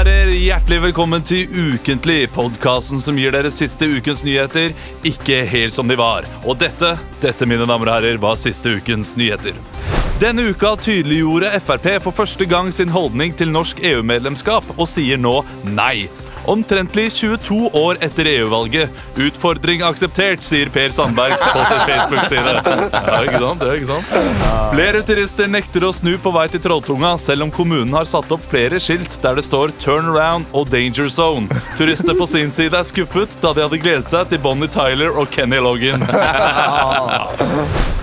Hjertelig velkommen til Ukentlig, podkasten som gir dere siste ukens nyheter ikke helt som de var. Og dette, dette mine damer og herrer, var siste ukens nyheter. Denne uka tydeliggjorde Frp for første gang sin holdning til norsk EU-medlemskap og sier nå nei. Omtrentlig 22 år etter EU-valget. Utfordring akseptert, sier Per Sandbergs på sin Facebook-side. Ja, ikke sant? Det er ikke sant? Flere turister nekter å snu på vei til Trolltunga, selv om kommunen har satt opp flere skilt der det står 'turn around' og 'danger zone'. Turister på sin side er skuffet, da de hadde gledet seg til Bonnie Tyler og Kenny Loggins.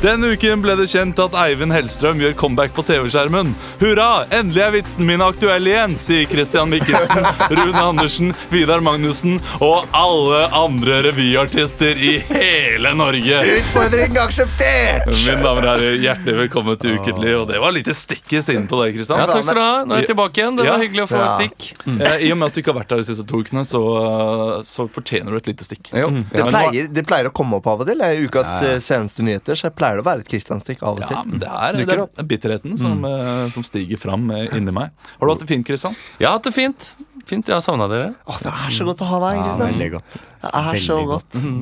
Denne uken ble det kjent at Eivind Hellstrøm gjør comeback på TV-skjermen. Hurra! Endelig er vitsen min aktuell igjen, sier Christian Mikkelsen, Rune Andersen, Vidar Magnussen og alle andre revyartister i hele Norge. Utfordring akseptert! Mine damer og herrer, hjertelig velkommen til Ukentlig. Og det var lite stikkes inn på deg, Christian. Ja, takk skal du ha. Nå er jeg tilbake igjen. Det Ja. var hyggelig å få Ja. stikk. Eh, I og med at du ikke har vært her de siste to ukene, så, så fortjener du et lite stikk. Jo. Mm. Det Ja, men- pleier, det pleier å komme opp av og til. Det er ukas eh, seneste nyheter, så jeg pleier det å være et Kristianstikk av og til. Ja, men det er, det Dukker opp. er bitterheten som, eh, som stiger fram eh, inni meg. Har du hatt det fint, Christian? Jeg har hatt det fint. Fint, Jeg har savna dere. Åh, altså. det er så godt å ha deg, Ja, Kristian. veldig godt. Det er så veldig godt.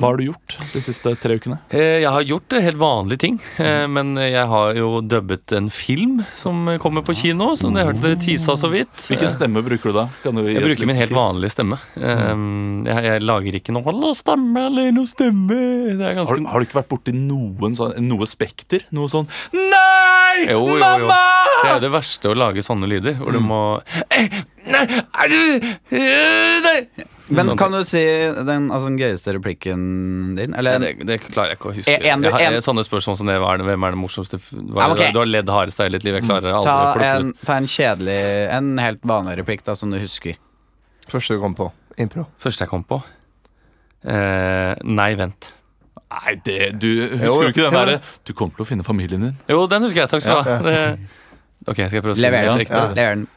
Hva har du gjort de siste tre ukene? Eh, Jeg har gjort eh, helt vanlige ting, Mm. eh, men jeg har jo dubbet en film som kommer på kino. Som dere hørte dere tisa så vidt. Hvilken Eh, stemme bruker du da? Kan du gi Jeg et bruker min helt tips? vanlige stemme. Mm. Eh, Jeg, jeg lager ikke noe 'hallo, stemme alene og stemme'. Det er Har, ganske du- har du ikke vært borti noen sånn, noe spekter? Noe sånn Nei! Jo, jo, jo. Det er Mamma! Mm. jo det verste å lage sånne lyder, hvor du må eh, Nei! er du- eh, nei. Men kan du si den, altså, den gøyeste replikken din? Nei, Eller det, det klarer jeg ikke å huske. En- en- jeg har, en- sånne spørsmål som det hva er det, hvem er det morsomste f- hva, Ja, ok. Mm, Du har ledd hardest av hele ditt liv. Jeg klarer aldri å ta plukke en, det. ta en kjedelig En helt vanlig replikk da, som du husker. Første du kom på. Impro. Første jeg kom på eh, Nei, vent. Nei, det, du husker Jo, du ikke den jo. derre Du kommer til å finne familien din. Jo, den husker jeg. Takk skal du ha. Det- Ok, skal jeg prøve å si Lever det den. riktig? Lever den.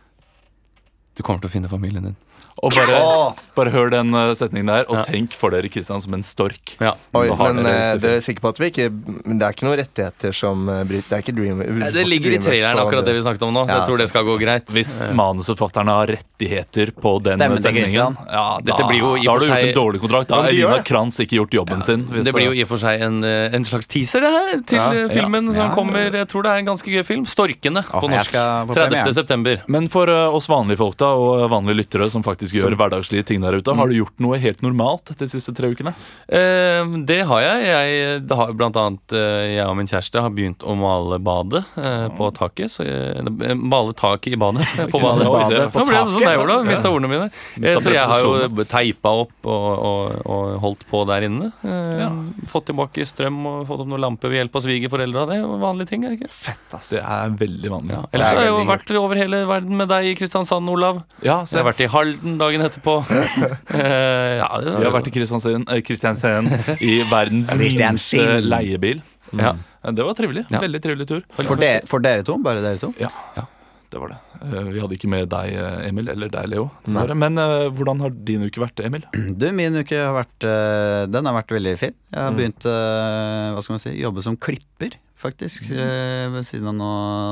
Du kommer til å finne familien din. Og bare, Åh, bare hør den eh, setningen der, og Ja. tenk for dere Kristian som en stork. Ja. Oi, Så har men dere eh, rett og det er sikker på at vi ikke Men det er ikke noen rettigheter som eh, bryter Det er ikke Dream Det ligger i traileren, akkurat det vi snakket om nå. Så Ja, jeg tror det skal gå greit. Eh, Hvis manusforfatterne har rettigheter på den Stemmer det, sendingen, Christian? ja, da, Dette blir jo i da har og du for gjort seg- en dålig kontrakt. Da Ja, har men de gjør Elina det. Kranz ikke gjort jobben sin. hvis- Det blir jo i og for seg en, eh, en slags teaser det her til Ja, eh, ja. filmen som Ja. kommer. Jeg tror det er en ganske gøy film. 'Storkene' på jeg norsk. skal på 30. premieren. september. Men for eh, oss vanlige folk da, og vanlige lyttere som faktisk gjør hverdagslige ting der ute, har Mm. du gjort noe helt normalt de siste tre ukene? Eh, det har jeg. jeg det har, blant annet eh, jeg og min kjæreste har begynt å male badet eh, på Mm. taket. Så jeg, eh, male taket i badet. eh, på badet. Oi, det- Nå ble det sånn jeg gjorde, da. Mista ordene mine. Eh, Mistet så jeg har preposisjonen. jo teipa opp og, og, og holdt på der inne. Eh, Fått tilbake strøm og fått opp noen lamper ved hjelp av svigerforeldre. Det er jo vanlige ting, er det ikke? Fett, ass. Det er veldig vanlig. Ja. Ellers Det er har jeg jo veldig vært over hele verden med deg i Kristiansand, Olav. Ja, Så jeg har vært i Halden dagen etterpå. Eh, ja, det- Vi har vært i Kristiansand, eh, Kristiansand i verdens minste leiebil. ja. Ja, Det var trivelig. Ja. Veldig trivelig tur. For, de, for dere to? Bare dere to? Det var det. Eh, Vi hadde ikke med deg, eh, Emil, eller deg, Leo, dessverre. Men eh, hvordan har din uke vært, Emil? Du, min uke har vært eh, Den har vært veldig fin. Jeg har begynt eh, Hva skal man si jobbe som klipper, faktisk. eh, Ved siden av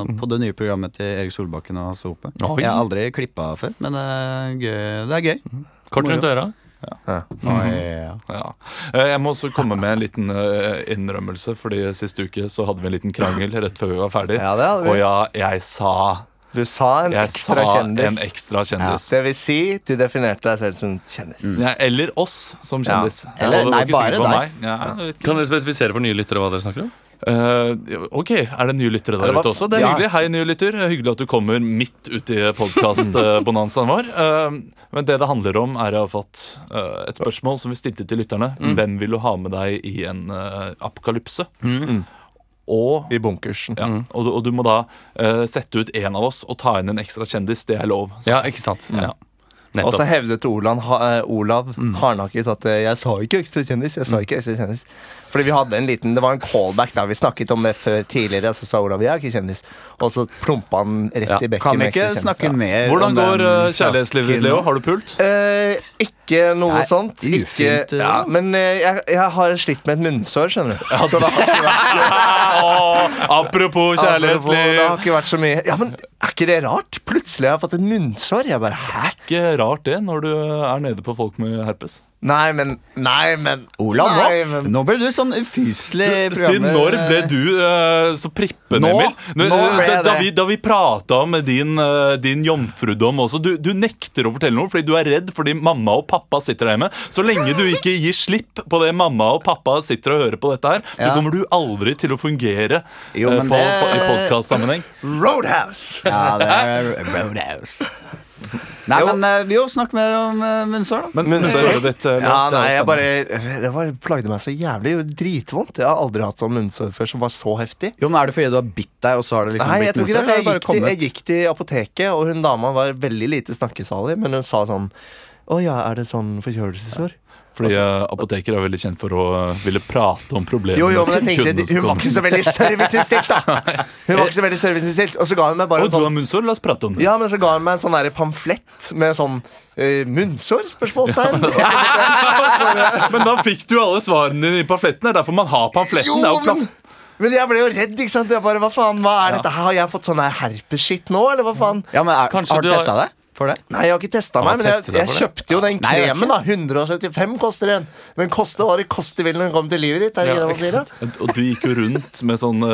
nå på det nye programmet til Erik Solbakken og Hasse Hope. Oi. Jeg har aldri klippa før, men det er gøy. Det er gøy. Kort rundt øra. Oi, Ja. Eh, Jeg må også komme med en liten eh, innrømmelse, fordi sist uke så hadde vi en liten krangel rett før vi var ferdig. Ja, det hadde vi. Og ja, jeg sa Du sa en Jeg ekstra sa en kjendis. ekstra kjendis. Det vil si, du definerte deg selv som kjendis. Ja, eller oss som Ja. kjendis. Ja. Eller- du var nei, ikke sikker bare på deg. meg. Ja, jeg vet ikke. Kan dere spesifisere for nye lyttere hva dere snakker om? Eh, ok, er det nye lyttere der Det var- ute også? Det er ja. hyggelig. Hei, nye lytter. Hyggelig at du kommer midt uti podkast-bonanzaen vår. Eh, men det det handler om, er å ha fått eh, et spørsmål som vi stilte til lytterne. Hvem vil du ha med deg i en eh, apokalypse? Og I bunkersen. Ja. Og, du, og du må da eh, sette ut en av oss og ta inn en ekstra kjendis. Det er lov. Ja, ikke sant? Ja. Og så Nettopp. hevdet Olav, ha, eh, Olav Mm. hardnakket at eh, jeg sa ikke ekstra kjendis. jeg sa ikke ekstra kjendis Fordi vi hadde en liten, Det var en callback der vi snakket om det før tidligere. Og så sa Olav jeg er ikke kjendis. Og så plumpa han rett Ja, i bekken. Kan vi med ikke ekstra kjendis. snakke mer Hvordan om den går eh, kjærlighetslivet ditt, saken? Leo? Har du pult? Eh, ikke noe Nei, sånt. ufint, Ikke, eh, ja, da. men eh, jeg, jeg har slitt med et munnsår, skjønner du. Så det har ikke vært Åh, apropos Apropos, Det har kjærlighetsliv. ikke vært så mye Ja, men Er ikke det rart? Plutselig har jeg fått et munnsår. Jeg bare, hæ? Ikke rart det, når du er nede på folk med herpes. Nei, men Nei, men Olav, nei, nå, men, nå ble du sånn ufyselig Eh, Siden når ble du eh, så prippen, Nå? Emil? Nå eh, ble da, jeg da det. vi, da vi prata om din, eh, din jomfrudom også du, du nekter å fortelle noe fordi du er redd fordi mamma og pappa sitter der hjemme. Så lenge du ikke gir slipp på det mamma og pappa sitter og hører på dette her, så Ja. kommer du aldri til å fungere Jo, eh, men på, det- på, i podkastsammenheng. Roadhouse! Ja, det er Roadhouse. Nei, men eh, vi jo snakk mer om eh, munnsår, da. Munnsåret ditt. eh, Lars, Ja, det er nei, jeg spennende. bare Det var, plagde meg så jævlig. Det gjorde Dritvondt. Jeg har aldri hatt sånn munnsår før som var så heftig. Jo, men Er det fordi du har bitt deg, og så har det liksom Nei, jeg blitt tror ikke det, munnsår? for jeg eller har gikk, det til, bare jeg gikk til apoteket, og hun dama var veldig lite snakkesalig, men hun sa sånn Å ja, er det sånn forkjølelsesår? Fordi eh, apoteker er veldig kjent for å eh, ville prate om problemene. Jo, jo, men jeg til tenkte kundene som Hun var ikke kommer. så veldig serviceinnstilt, da! Hun var ikke så veldig serviceinnstilt. Og så ga hun meg Å, bare du en sånn har munnsår? La oss prate om det. Ja, men så ga han meg en sånn der pamflett med sånn eh, munnsår? Spørsmålstegn. Og så- Men da fikk du alle svarene dine i pamfletten. Det er derfor man har pamfletten. Jo, det er jo men, men jeg ble jo redd, ikke sant? Jeg bare, hva faen, hva er dette? Har jeg fått sånn her herpes-shit nå, eller hva faen? kommet? Ja, men er, Kanskje Har du du har- testa deg for det? Nei, jeg har ikke testa Har meg, man men jeg, testet deg jeg for det? kjøpte jo den Nei, jeg vet kremen, da. 175 koster den. Men koste hva det koste vil når den kommer til livet ditt. Er det Ja, ikke det ikke man sier? da? Og du gikk jo rundt med sånn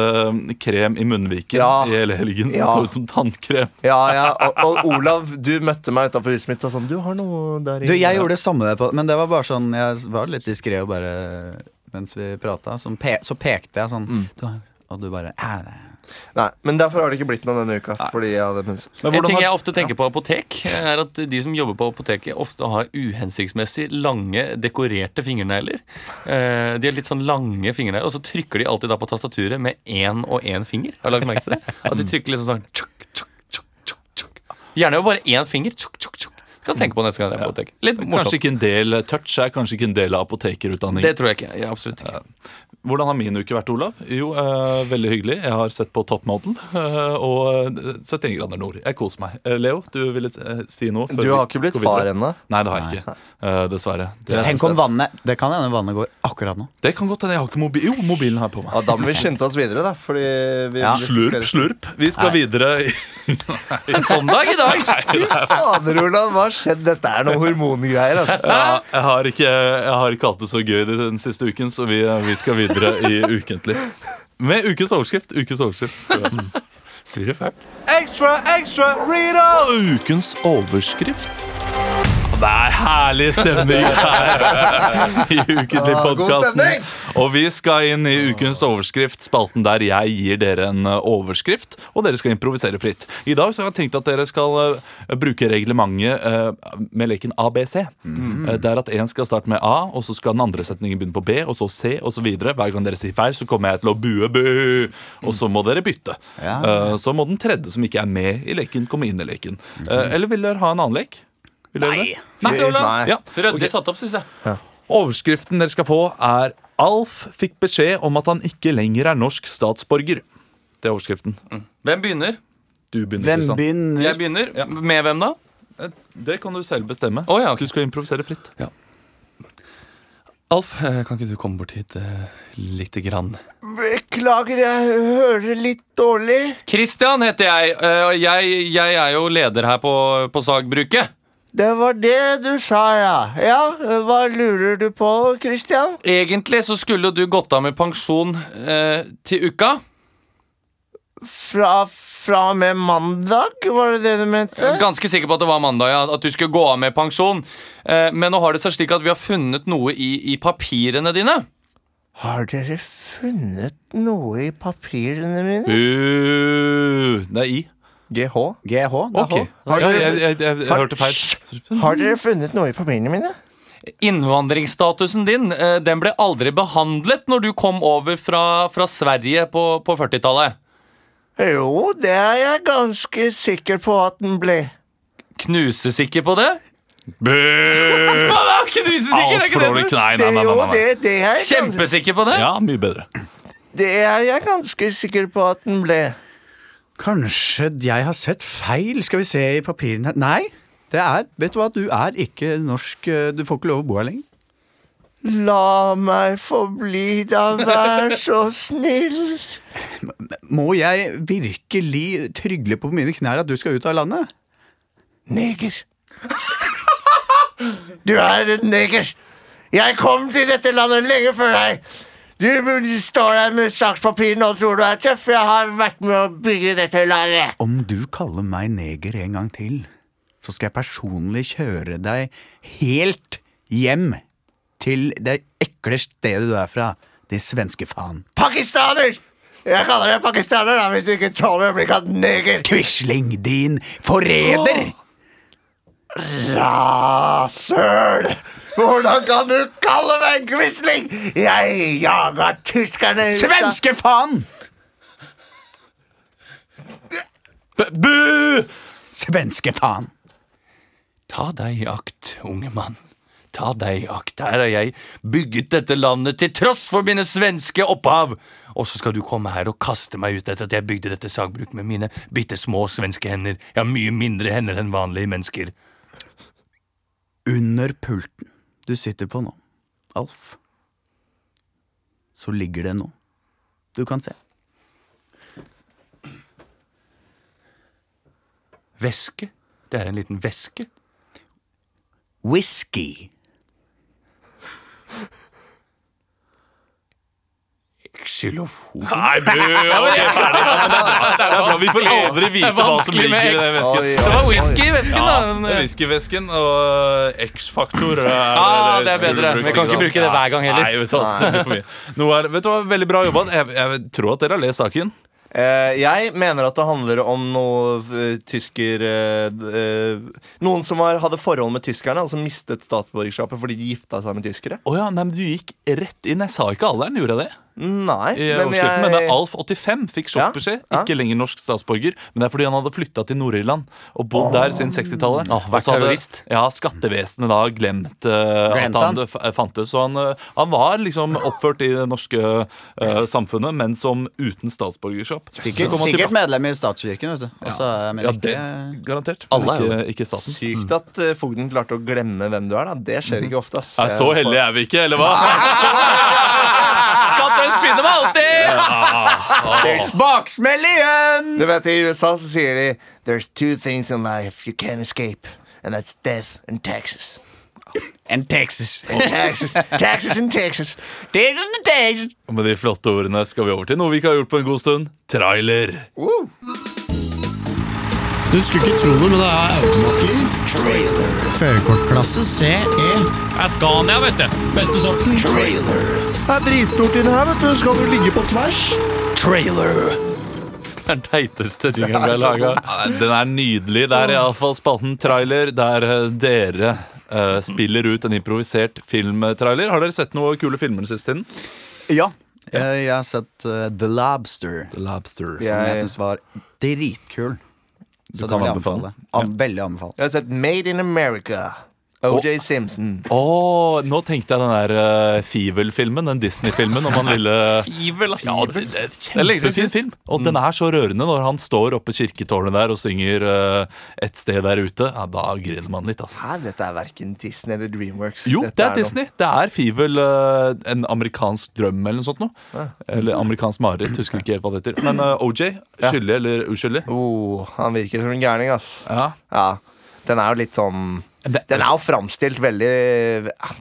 eh, krem i munnviken Ja. i hele helgen som Ja. så ut som tannkrem. Ja, ja. Og, og Olav, du møtte meg utafor huset mitt og sånn Du har noe der Du, jeg gjorde det samme, på, men det var bare sånn Jeg var litt diskré og bare Mens vi prata, sånn, pe så pekte jeg sånn Mm. du, har- Og du bare "Æ, nei." Nei, men derfor har det ikke blitt noe denne uka. Fordi jeg hadde munnsår. Men En hvordan ting jeg har, ofte tenker på apotek, er at de som jobber på apoteket, ofte har uhensiktsmessig lange, dekorerte fingernegler. Eh, De har litt sånn lange fingernegler, og så trykker de alltid da på tastaturet med én og én finger. Har du lagt merke til det? At de trykker liksom sånn tjukk, tjukk, tjukk, tjukk, tjukk. Gjerne jo bare én finger. Tjukk, tjukk, tjukk. Du kan tenke på neste gang det er på apotek. Litt kanskje morsomt. ikke en del eh, touch er kanskje ikke en del av Det apotekerutdanningen. tror jeg ikke. Ja, absolutt ikke. Hvordan har min uke vært, Olav? Jo, eh, veldig hyggelig. Jeg har sett på Top Model eh, og eh, 71 grader nord. Jeg koser meg. Eh, Leo, du ville eh, si noe? før Du vi har ikke blitt går videre? far ennå? Nei, det har jeg ikke. Eh, dessverre. Det, Tenk om vannet Det kan hende vannet går akkurat nå. det kan godt hende. Jeg har ikke mobil. Jo, mobilen har jeg på meg. Ja, da må vi skynde oss videre, da. Fordi vi Ja. Slurp, slurp. Vi skal videre. i- En sånn dag i dag! Fader, Olav, hva har skjedd? Dette er noen hormongreier. Altså. Ja, jeg, har ikke, jeg har ikke hatt det så gøy den siste uken, så vi, vi skal videre i ukentlig. Med ukens overskrift. Ukens overskrift. Sier det fælt. Ekstra, ekstra, Rita! Ukens overskrift. Det er herlig stemning her i Ukentlig Ah, god podkasten. stemning! Og vi skal inn i ukens overskrift, spalten der jeg gir dere en eh, overskrift, og dere skal improvisere fritt. I dag så har jeg tenkt at dere skal eh, bruke reglementet eh, med leken ABC. Mm. Eh, Der at én skal starte med A, og så skal den andre setningen begynne på B, og så C, og så videre. Hver gang dere sier feil, så kommer jeg til å bue, bu, og så må dere bytte. Ja. Eh, Så må den tredje som ikke er med i leken, komme inn i leken. Mm. Eh, Eller vil dere ha en annen lek? Vil dere det? Nei, Olav. Nei. Ja. Ryddig satt opp, syns jeg. Overskriften dere skal få er Alf fikk beskjed om at han ikke lenger er norsk statsborger. Det er overskriften. Hvem begynner? Du begynner, Hvem Kristian. Eh, begynner? Jeg begynner. Med hvem da? Det kan du selv bestemme. Å ja, ok. Du skal improvisere fritt. Alf, eh, kan ikke du komme bort hit eh, lite grann? Beklager, jeg hører litt dårlig. Kristian heter jeg, eh, og jeg, jeg er jo leder her på, på Sagbruket. Det var det du sa, ja. Ja, hva lurer du på, Christian? Egentlig så skulle jo du gått av med pensjon eh, til uka. Fra, fra og med mandag, var det det du mente? Ganske sikker på at det var mandag, ja, at du skulle gå av med pensjon. Eh, men nå har det seg slik at vi har funnet noe i, i papirene dine. Har dere funnet noe i papirene mine? Uh, det er I. GH. GH? Det er Ok. H. Ja, jeg, jeg, jeg, jeg, jeg hørte feil. Har dere funnet noe i papirene mine? Innvandringsstatusen din eh, den ble aldri behandlet når du kom over fra, fra Sverige på, på 40-tallet. Jo, det er jeg ganske sikker på at den ble. Knusesikker på det? Bø! Hva da? Knusesikker, er ikke Altfor det? dårlig. du- Nei, Det, nei, nei. jo, nei, det, nei. det, er jeg gans- Kjempesikker på det? Ja, mye bedre. det er jeg ganske sikker på at den ble. Kanskje jeg har sett feil? Skal vi se i papirene Nei, Det er, vet du hva, du er ikke norsk eh, Du får ikke lov å bo her lenger. La meg få bli da, vær så snill. Må jeg virkelig trygle på mine knær at du skal ut av landet? Neger. Du er en neger. Jeg kom til dette landet lenge før deg. Du burde- står der med sakspapirene og tror du er tøff. Jeg har vært med å bygge dette landet. Om du kaller meg neger en gang til, så skal jeg personlig kjøre deg helt hjem til det ekle stedet du er fra, din svenske faen. Pakistaner! Jeg kaller deg pakistaner da, hvis du ikke tåler å bli kalt neger. Quisling, din forræder! Rasøl! Hvordan kan du kalle meg Quisling? Jeg jaga tyskerne ut av- Svenske faen! B Bu! Svenske faen. Ta deg i akt, unge mann. Ta deg i akt. Her har jeg bygget dette landet til tross for mine svenske opphav. Og så skal du komme her og kaste meg ut etter at jeg bygde dette sagbruket med mine bitte små svenske hender. Jeg har mye mindre hender enn vanlige mennesker. Under pulten du sitter på nå, Alf, så ligger det noe du kan se. Væske. Det er en liten væske. Whisky. Xylofon. Nei, bu! Ok, ferdig. Ja, men det er bra. Det er bra. Vi får aldri vite hva som ligger i den Oi, vesken. oi, Det var oi. whisky i væsken, da. Ja, men, eh, Whiskyvesken og eh, X-faktor. Ah, det er bedre. Vi kan ikke bruke det hver gang heller. Nei, vet du, hva, det blir for mye. Nå er, vet du hva, Veldig bra jobba. Jeg, jeg tror at dere har lest saken. Eh, jeg mener at det handler om noe eh, tysker eh, d- eh, Noen som var, hadde forhold med tyskerne, altså mistet statsborgerskapet fordi de gifta seg med tyskere. Å ja, nei, men Du gikk rett inn. Jeg sa ikke alderen, gjorde jeg det? Nei, I men overskriften, men det er Alf85 fikk Ja, sjokkbeskjed. ja. Ikke lenger norsk statsborger, men det er fordi han hadde flytta til Nord-Irland og bodd der siden 60-tallet. Åh, vært Og så hadde- terrorist. Ja, skattevesenet da glemt eh, Glemt at han han. f- fantes. Så han, eh, han var liksom oppført i det norske eh, samfunnet, men som uten statsborgerskap. Så Sikkert, kom han sikkert tilbake- medlem i statskirken, vet du. Og så er jeg Ja, ikke det garantert. Alle Men er jo ikke, ikke staten. Sykt at eh, fogden klarte å glemme hvem du er. da Det skjer ikke ofte. ass Nei, så heldige er vi ikke, eller hva? Skatt og spinne meg alltid! Baksmell igjen! Du vet, I USA så sier de There's two things in life you can't escape, and that's death and taxes. And Texas. And taxes, taxes and taxes. Og med de flotte ordene skal vi over til noe vi ikke har gjort på en god stund. Trailer. Du skulle ikke tro det, men det er automatgir. Førerkortklasse CE. Scania, vet du. Beste sorten. Det er dritstort inni her, vet du. Skal du ligge på tvers? Trailer. Det er den teiteste jingeren vi har laga. Ja, Den er nydelig. Det er iallfall spalten trailer der eh, dere eh, spiller ut en improvisert filmtrailer. Har dere sett noe kule filmer den siste tiden? Ja. Jeg, jeg har sett eh, The Lobster, Lobster. som Jeg- jeg syns var dritkul. Så det kan vil jeg anbefale den. anbefale. An veldig anbefale. Jeg har sett Made in America. OJ Simpson. nå tenkte jeg den der uh, Fivel-filmen, den Disney-filmen, om han ville Ja, det, det er er lenge siden Kjempefin film. Og den er så rørende når han står oppe i kirketårnet der og synger eh, et sted der ute. Ja, da griner man litt, altså. Hæ, dette er verken Disney eller Dreamworks. Jo, Dette det er noe- Disney. Det er Fivel, eh, en amerikansk drøm eller noe sånt. Noe. Eller amerikansk mareritt, husker ikke helt hva det heter. Men eh, OJ, skyldig eller uskyldig? Oh, han virker som en gærning, ass. Ja. Ja. Den er jo litt sånn Det- Den er jo framstilt veldig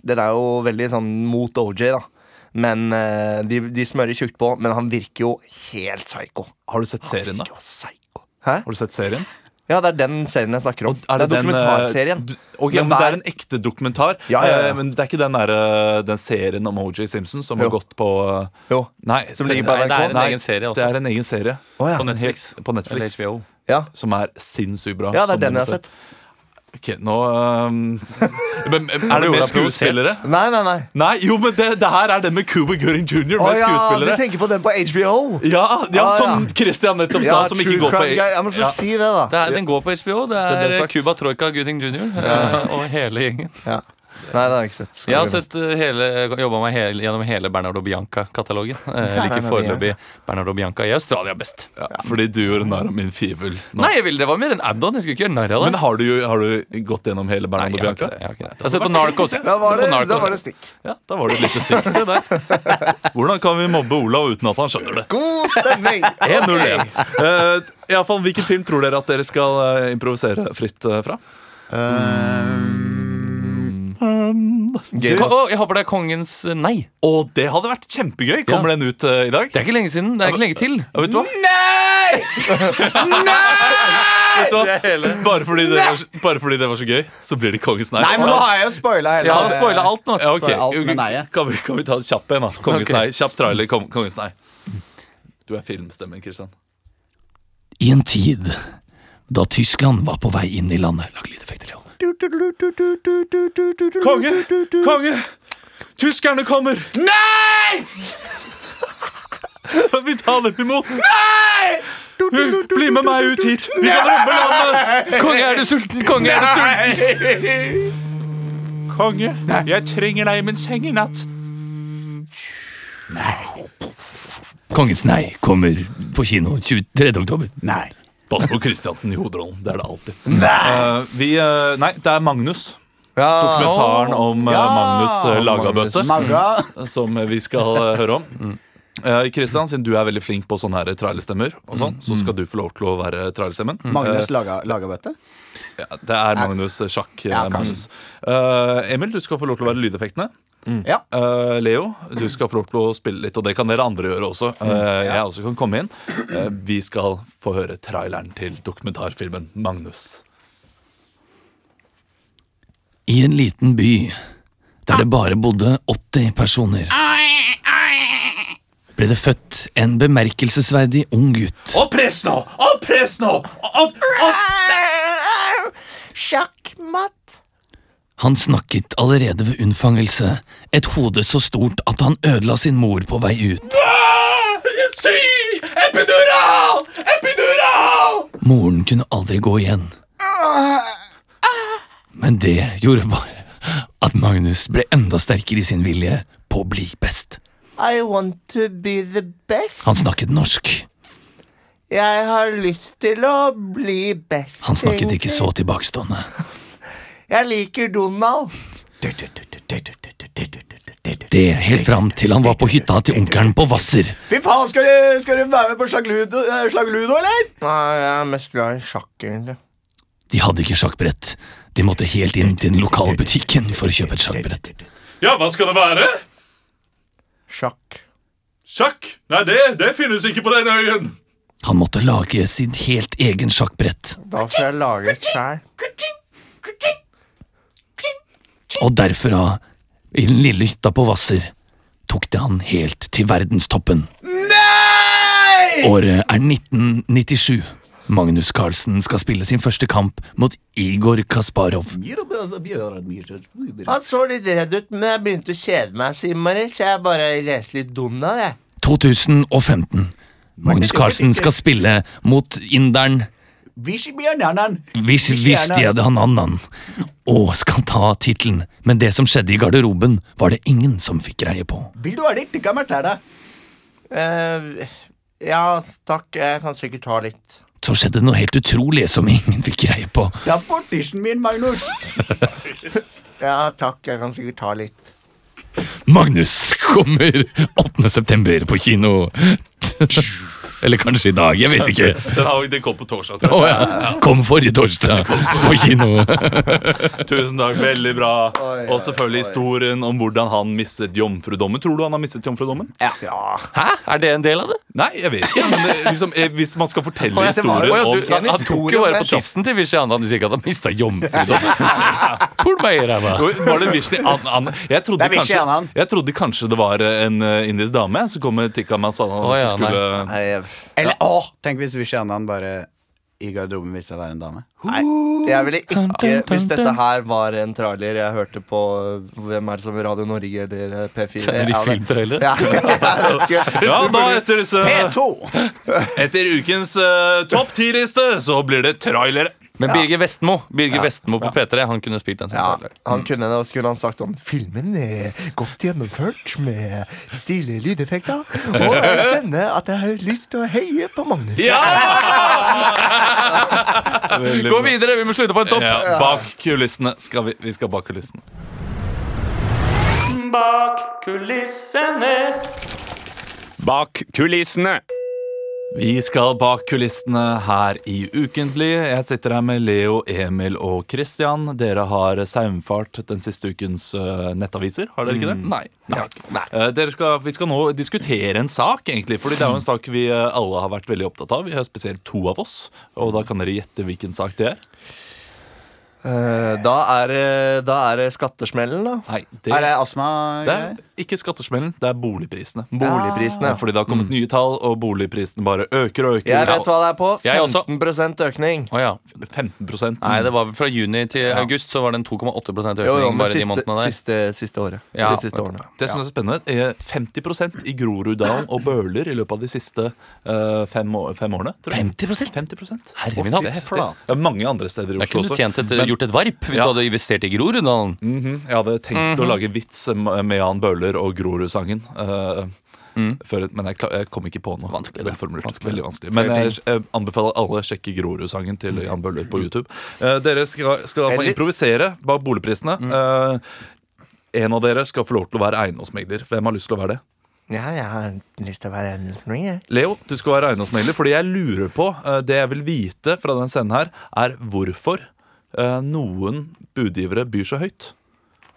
Den er jo veldig sånn mot OJ, da. Men eh, de, de smører tjukt på, men han virker jo helt psycho. Har du sett serien, da? Virker jo psycho. Hæ? Har du sett serien? Ja, det er den serien jeg snakker om. det, er den, eh, dokumentarserien. du- ok, Men men det hver- er en ekte dokumentar. Ja, ja, ja. eh, Men det er ikke den, der, eh, den serien om OJ Simpson som Jo. har gått på eh, Jo. Nei, Som den- ligger på nei, NRK? det er en Nei, egen serie Det også. er en egen serie Å, ja. På Netflix. På Netflix. Eller HBO. Ja. Som er sinnssykt bra. ja, det som er den du jeg må har se. sett. Ok, nå ehm, men, Er det Nå ble mer jeg provosert. skuespillere? Nei, nei, nei. Nei, jo, men det, det her er den med Cuba Gooding Jr. med Å ja, du skuespillere. tenker på den på HBO? Ja, ja, Ah, som ja. Christian nettopp sa, som ikke true går på crime guy. Ja, men så Ja. si det, da. Det er, den går på HBO. Det Det ble er sagt. Cuba Troika Gooding Jr. eh, og hele gjengen. Nei, det har jeg ikke sett. Skal Jeg har vi- sett eh, hele, jobba meg hele, gjennom hele Bernardo Bianca-katalogen. Eh, Jeg liker foreløpig Bernardo Bianca i Australia best. Ja, fordi du gjorde narr av min fivel. nå. Nei, jeg vil, det var mer en add-on. Jeg skulle ikke gjøre narr av det. Men har du, jo- har du gått gjennom hele Nei, Bernardo jeg har ikke Bianca? det. Jeg har ikke det. Jeg har sett på Narcos. jeg. Da var Sett det, på Narcos, da var jeg. det stikk. Ja, da var det et lite stikk. Se der. Hvordan kan vi mobbe Olav uten at han skjønner det? God stemning! 1-0-1. Eh, i alle fall, Hvilken film tror dere at dere skal eh, improvisere fritt eh, fra? Du, Gøy. å, jeg håper det er Kongens eh, nei. Og det hadde vært kjempegøy! Kommer Ja. den ut eh, i dag? Det er ikke lenge siden. Det er ikke lenge til. Ja, vet du hva? Vet du hva? Bare fordi, det var, så- bare fordi det var så gøy, så blir det Kongens nei. Nei, men nå har jeg jo spoila hele Jeg har spoila alt nå. ja, ok. for alt med nei-et. kan, vi, kan vi ta en kjapp en, da? Kongens Ok. nei. Kjapp trailer. Kong, kongens nei. Du er filmstemmen, Kristian. I en tid da Tyskland var på vei inn i landet Lag lydeffekter, ja. Konge! Konge! Tyskerne kommer! Nei! Skal vi ta dem imot? Nei! Bli med meg ut hit! Vi kan rømme landet! Konge, er du sulten? Konge, er du sulten? Konge, jeg trenger deg i min seng i natt. Kongens nei kommer på kino 23. oktober. Nei. Pass på Kristiansen i hovedrollen. Det er det alltid. Nei, vi, eh, nei det er Magnus. Ja, Dokumentaren om eh, Magnus eh, Lagabøte. Maga. som vi skal eh, høre om. Mm. Eh, Kristian, siden du er veldig flink på sånne her trailerstemmer, og Mm. sånn, så skal du få lov til å være trailerstemmen. Magnus laga, lagabøtte? Eh, ja, det er Magnus eh, Sjakk. eh, Ja, Magnus. Eh, Emil, du skal få lov til å være lydeffektene. Ja. Eh, Leo, du skal få lov til å spille litt, og det kan dere andre gjøre også. Mm, Eh, jeg også kan komme inn. Eh, vi skal få høre traileren til dokumentarfilmen 'Magnus'. I en liten by der Ah. det bare bodde 80 personer, ble det født en bemerkelsesverdig ung gutt. Og press nå! Og press nå! Sjakkmatt. Han snakket allerede ved unnfangelse, et hode så stort at han ødela sin mor på vei ut. Syng! Epidural! Epidural! Moren kunne aldri gå igjen. Men det gjorde bare at Magnus ble enda sterkere i sin vilje på å bli best. I want to be the best. Han snakket norsk. Jeg har lyst til å bli best. Han snakket egentlig. ikke så tilbakestående. Jeg liker Donald. Det helt fram til han var på hytta til onkelen på Hvasser. Fy faen, skal du, skal du være med på slagludo, eh, slagludo, eller? Nei, jeg er mest glad i sjakk, egentlig. De hadde ikke sjakkbrett. De måtte helt inn til den lokale butikken for å kjøpe et sjakkbrett. Ja, hva skal det være? Sjakk. Sjakk? Nei, det, det finnes ikke på denne øyen. Han måtte lage sin helt egen sjakkbrett, Da får jeg lage et sjæl. og derfra, i den lille hytta på Hvasser, tok det han helt til verdenstoppen. Nei! Året er 1997. Magnus Carlsen skal spille sin første kamp mot Igor Kasparov. altså, Han så litt redd ut, men jeg begynte å kjede meg så innmari, så jeg bare leste litt Donald, jeg. 2015. Magnus Carlsen skal spille mot inderen Vis- Visste jeg det han annan og skal ta tittelen, men det som skjedde i garderoben, var det ingen som fikk greie på. Eh, ja, takk. Jeg kan sikkert ta litt. Så skjedde noe helt utrolig som ingen fikk greie på. Det er fortisen min, Magnus. Ja, takk. Jeg kan sikkert ta litt. Magnus kommer 8. september på kino. Eller kanskje i dag, jeg vet ikke. Den, har, den kom på torsdag. tror Å ja. Kom forrige torsdag på kino. jeg. Tusen takk, veldig bra. Oi, Og selvfølgelig historien om hvordan han mistet jomfrudommen. Tror du han har mistet jomfrudommen? Ja. Hæ? Er det en del av det? Nei, jeg vet ikke. Men det, liksom, eh, hvis man skal fortelle Å, ja, det var- historien Å, ja, om du- han, han tok jo bare på tissen til Vishy Anand. Du sier ikke at han mista jomfrudommen? Pul meg i ræva. var det Vishni An An jeg, trodde Det er Vishni kanskje, Anand. jeg trodde kanskje det var eh, en eh, indisk dame som kom med tikka masala. Å, ja, som skulle, Nei, jeg, Eller å, tenk hvis Vishy Anand bare i garderoben viste seg å være en dame. jeg ville ikke Hvis dette her var en trailer jeg hørte på Hvem er det som Radio Norge eller P4 Sender de Ja, det- filmtrailere? Ja, jeg vet ikke. ja, da etter disse P2! Etter ukens eh, topp ti-liste så blir det trailer. Men Birger Vestmo Birger Vestmo på P3 han kunne spilt den. som Ja, særlig. han kunne det, og skulle han sagt sånn Filmen er godt gjennomført med stilige lydeffekter, og jeg kjenner at jeg har lyst til å heie på Magnus. Gå videre! Vi må slutte på en topp. Ja, bak kulissene skal vi. Vi skal bak kulissene. Bak kulissene. Bak kulissene. Vi skal bak kulissene her i Ukentlig. Jeg sitter her med Leo, Emil og Christian. Dere har saumfart den siste ukens eh, nettaviser, har dere ikke det? Nei. Eh, dere skal, vi skal nå diskutere en sak, egentlig. Fordi det er jo en sak vi eh, alle har vært veldig opptatt av. Vi har spesielt to av oss. Og da kan dere gjette hvilken sak det er. Eh, Da er, eh, da er det skattesmellen, da. Nei, Er det det, astma? det er ikke skattesmellen, det er boligprisene. Boligprisene. Fordi det har kommet nye tall, og boligprisene bare øker og øker. Jeg vet hva det er på. Jeg også. 15 økning. Å ja. 15 Nei, det var vel fra juni til august så var det en 2,8 økning Jo, jo, men bare de siste, månedene der. siste, siste året. Ja. De siste årene. Det som er så spennende, er 50 i Groruddalen og Bøler i løpet av de siste eh, fem, år, fem årene. tror jeg. 50%? 50 Herre min Å, fy hatt. flate. Det er mange andre steder i Jeg Oslo kunne også. tjent et, Men- gjort et varp hvis Ja. du hadde investert i Groruddalen. Mhm, jeg hadde tenkt å lage vits med Jan Bøhler og Grorud-sangen. eh, før- Men jeg, kla- jeg kom ikke på noe. Mhm. Vanskelig, det. Vel formulert. Vanskelig. Veldig vanskelig. Men jeg, jeg anbefaler alle å sjekke Grorud-sangen Mhm. til Jan Bøhler på YouTube. Eh, dere skal, skal da få Eller- improvisere bak boligprisene. Mhm. Eh, en av dere skal få lov til å være eiendomsmegler. Hvem har lyst til å være det? Ja, jeg har lyst til å være eiendomsmegling, jeg. Leo, du skal være eiendomsmegler, fordi jeg lurer på eh, Det jeg vil vite fra den scenen her, er hvorfor eh, noen budgivere byr så høyt.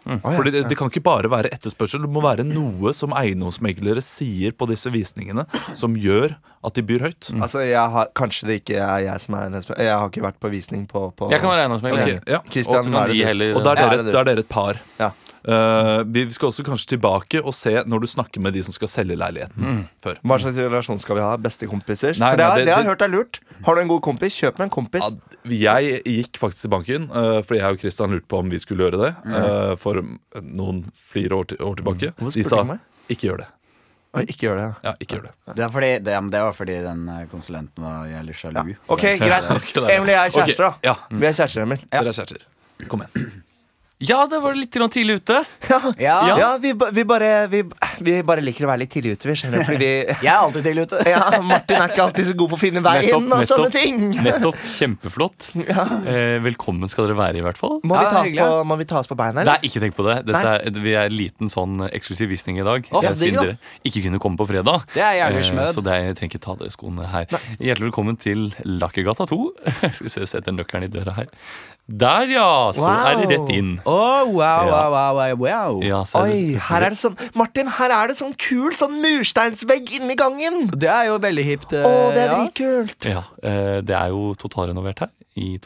Mm. Fordi det, det kan ikke bare være etterspørsel. Det må være noe som eiendomsmeglere sier på disse visningene, som gjør at de byr høyt. Altså, jeg har, Kanskje det ikke er jeg som er eiendomsmegler. Jeg har ikke vært på visning på, på Jeg kan være eiendomsmegler. Ok, ja. Christian, Og hva er det de du- heller- Og da Ja, er det dere, du. da er dere et par. Ja. Eh, vi skal også kanskje tilbake og se når du snakker med de som skal selge leiligheten. Mm. Før. Hva slags relasjon skal vi ha? Bestekompiser? Nei, For det, nei, har- det- det har det- jeg hørt er lurt. Har du en god kompis, kjøp deg en kompis. Ja, jeg gikk faktisk til banken, eh, fordi jeg og Kristian lurte på om vi skulle gjøre det. eh, For noen flere år, til, år tilbake. Mm. Hvorfor De spurte sa du meg? ikke gjør det. Oi, ikke gjør det. ja. Ja, ikke gjør det. Det, er fordi, det, det var fordi den eh, konsulenten var jævlig sjalu. Ok, greit. Emil og jeg er kjærester, da. Ok, ja. Vi er kjærester, Emil. Dere er kjærester. Kom igjen. Ja, det var litt grann tidlig ute. Ja, vi, ba- vi, bare, vi, vi bare liker å være litt tidlig ute, vi. Skjønner, fordi vi Jeg er alltid tidlig ute. ja, Martin er ikke alltid så god på å finne veien Nettopp, og sånne nettopp. ting. Nettopp. Kjempeflott. Eh, velkommen skal dere være, i hvert fall. Må Ja, vi, ta oss hyggelig, på, ja. må vi ta oss på beina, Nei, eller? ikke tenk på det. Dette er, vi er en liten sånn eksklusiv visning i dag. Å, eh, digg, da. siden dere ikke kunne komme på fredag. Eh, Det er jævlig smød. så det er, jeg trenger ikke ta dere skoene her. Hjertelig velkommen til Lakkegata 2. Skal vi se, setter nøkkelen i døra her. Der, ja! Så er det rett inn. Oh, wow, Ja. wow, wow, wow. Ja, så er Oi, det- her er det sånn Martin, her er det sånn kul sånn mursteinsvegg inni gangen. Det er jo veldig hipt. eh, Å, det er ja. dritkult. Ja, eh, Det er jo totalrenovert her i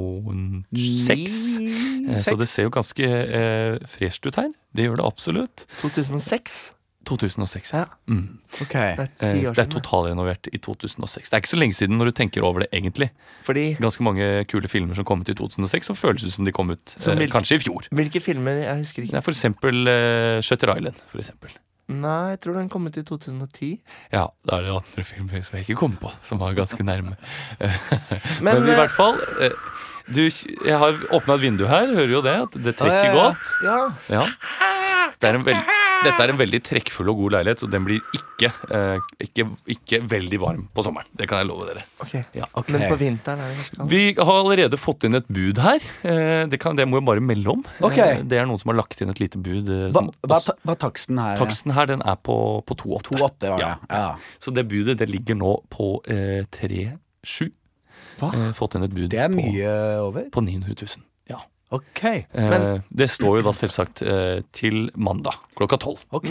2006. Eh, Så det ser jo ganske eh, fresht ut her. Det gjør det absolutt. 2006? 2006, Ja. ja. Mm. Ok. Det er Eh, ti år Det er siden. totalrenovert i 2006. Det er ikke så lenge siden når du tenker over det, egentlig. Fordi Ganske mange kule filmer som kom ut i 2006, som føles ut som de kom ut Som eh, hvilke- kanskje i fjor. Hvilke filmer? Jeg husker Det ikke. er for eksempel eh, Shutter Island, for eksempel. Nei, jeg tror den kom ut i 2010. Ja, da er det andre filmer som jeg ikke kom på, som var ganske nærme. Men, Men, i eh, hvert fall eh, du, Jeg har åpna et vindu her, hører jo det. At det trekker ja, ja. godt. Ja. Ja. Det er en veld, dette er en veldig trekkfull og god leilighet, så den blir ikke, eh, ikke, ikke veldig varm på sommeren. Det kan jeg love dere. Ok. Ja. Men på vinteren er det ganske kaldt. Vi har allerede fått inn et bud her. Eh, Det, kan, det må jeg bare melde om. Ok. Eh, Det er noen som har lagt inn et lite bud. eh, Hva, som hva, også- ta- hva taksten her? Taksten her den er på, på 2,8. 2,8 var det. Ja. Ja. Så det budet det ligger nå på eh, 3,7. Eh, fått inn et bud Det er mye over. På, på 900 000. Ja. Ok. Eh, det står jo da selvsagt eh, til mandag klokka tolv. ok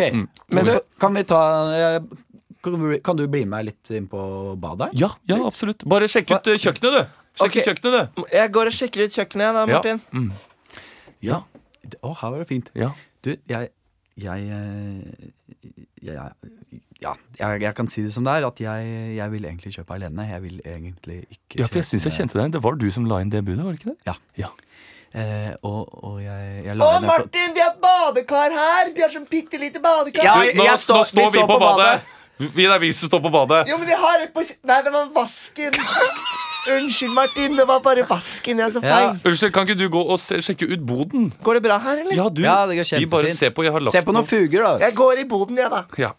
Men du, kan vi ta eh, kan du- Kan du bli med litt inn på badet? Ja, ja, absolutt. Bare sjekk ut eh, kjøkkenet, du! Sjekk Ok. ut kjøkkenet, du! Jeg går og sjekker ut kjøkkenet da, Ja. Martin. Ja. Å, her var det fint. ja. Du, jeg jeg, eh, jeg, jeg ja, jeg, jeg kan si det som det er, at jeg, jeg vil egentlig kjøpe alene. Jeg vil egentlig ikke ja for jeg syns jeg kjente deg. Det var du som la inn det budet, var det ikke det? Ja. Ja. Eh, og, og jeg, jeg Å, la ned på- Martin, de har badekar her! De har sånn bitte lite badekar. Ja, Du, jeg- nå, jeg står- nå står vi, på, badet! Vi, det er vi som står på badet. Jo, men vi har et på kjø- Nei, det var vasken. Unnskyld, Martin. Det var bare vasken jeg så Ja. feil. Unnskyld, kan ikke du gå og se, sjekke ut boden? Går det bra her, eller? Ja, du. Ja, det går vi bare kjempefint. ser på. Jeg har lagt Se på noen fuger, da. Jeg går i boden, jeg, da. Ja.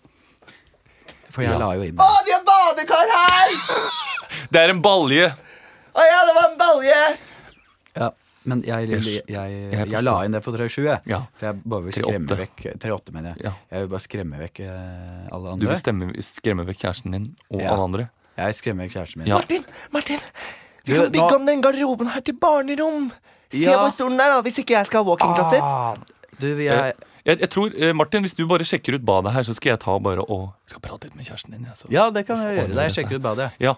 For jeg la jo inn Å, de har badekar her! Det er en balje. Å ja, det var en balje! ja. Men jeg, jeg, jeg, jeg, forstår. la inn det på 37, jeg. Ja. For jeg bare vil 38. skremme vekk 38, mener jeg. Ja. Jeg vil bare skremme vekk eh, alle Du andre. vil stemme, skremme vekk kjæresten din og Ja. alle andre. Jeg skremmer vekk kjæresten min. Ja. Martin, Martin. Vi Du, kan bygge nå- om den garderoben her til barnerom. Se Ja. hvor stor den er, da, hvis ikke jeg skal ha walking-closet. Ah, Du, jeg Jeg, jeg tror, eh, Martin, Hvis du bare sjekker ut badet her, så skal jeg ta bare og jeg skal prate litt med kjæresten din. jeg, så- Ja, det kan Ordner jeg gjøre. Da jeg dette. sjekker ut badet. Ja.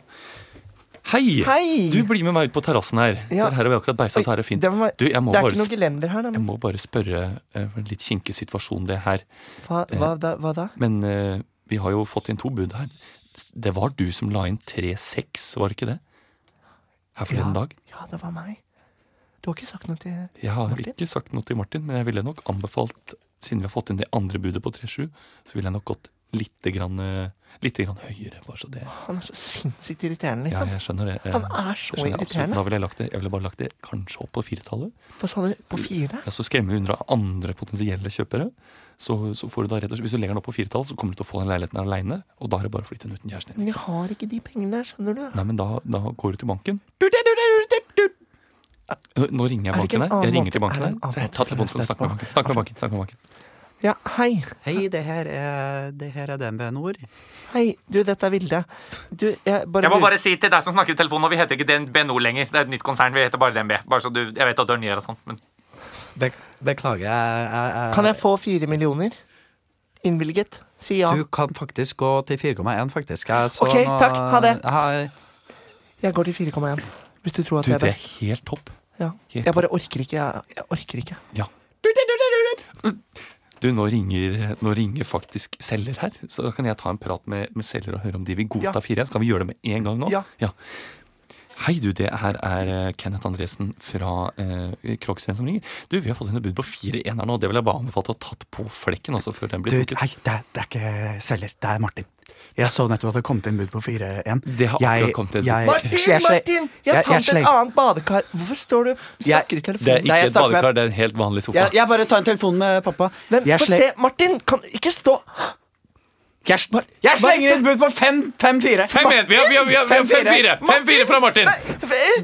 Hei! Hei! Du blir med meg ut på terrassen her. Ja. Se, her har vi akkurat beisa, så her er det fint. Det, var, Du, jeg må det er bare ikke noe sp- gelender her, da. Jeg Men, må bare spørre eh, for en litt kinkig situasjon, det her. hva, hva, da, hva da? Men eh, vi har jo fått inn to bud her. Det var du som la inn 3-6, var det ikke det? Her forleden Ja. dag. Ja, det var meg. Du har ikke sagt noe til Jeg har Martin? ikke sagt noe til Martin, men jeg ville nok anbefalt, siden vi har fått inn det andre budet på 3-7, så ville jeg nok gått litt, grann, eh, litt grann høyere. Bare så det. Han er så sinnssykt irriterende, Ja, liksom. jeg skjønner det. eh, Han er så det skjønner jeg absolutt. irriterende. Da ville jeg, lagt det, jeg ville bare lagt det kanskje opp på firetallet. Hva sa du? På fire? Ja, så skremmer vi unna andre potensielle kjøpere. Så, så får du da rett og slett, Hvis du legger den opp på firetall, så kommer du til å få den leiligheten aleine. Og da er det bare å flytte den uten kjæresten din. Men ikke jeg har ikke de pengene der, skjønner du. sant? Nei, men da, da går du til banken. Nå, nå ringer jeg Er det ikke en banken her. Jeg annen ringer til måte- er banken det en her. Så annen jeg måte tar å telefonen og løse snakker dette med banken. Snakk med banken, snakk med banken. Ja, hei. Hei, det her er, det her er DNB Nord. Hei. Du, dette er Vilde. Du, jeg bare Jeg må bare si til deg som snakker i telefonen, og vi heter ikke DNB nå lenger. Det er et nytt konsern. Vi heter bare DNB. Bare så du, jeg vet at du er nyere og sånn, men beklager, jeg, jeg, jeg Kan jeg få fire millioner? Innvilget. Si ja. Du kan faktisk gå til 4,1, faktisk. Jeg så Ok, nå- takk. Ha det. Jeg har- Jeg går til 4,1. Hvis du tror at Du, det er det er best. helt topp. Ja. helt Jeg bare orker ikke. Jeg, jeg orker ikke. Du, nå ringer, nå ringer faktisk selger her. Så da kan jeg ta en prat med, med selger og høre om de vil godta Ja. fire. Så kan vi gjøre det med en gang nå? Ja. Hei, du, det her er eh, Kenneth Andresen fra eh, Krogsveen som ringer. Du, vi har fått inn et bud på fire ener nå. Det vil jeg bare anbefale å ha tatt på flekken altså, før den Du, blir nei, trukket. det, er- det er ikke selger. Det er Martin. Jeg så nettopp at det kom til en bud på 4-1. Det har akkurat kommet til en bud. Martin, Martin! Jeg, fant et annet badekar. Hvorfor står du og snakker i Det er telefonen? ikke Nei, jeg et snakker med- badekar, det er en helt vanlig sofa. jeg, jeg bare tar en telefon med pappa. Men jeg, få sle se, Martin! Kan ikke stå jeg, sl- jeg slenger inn bud på 5-4. Fem, en, vi har, vi har, vi har, vi har fem, fire. Fem, fire fra Martin.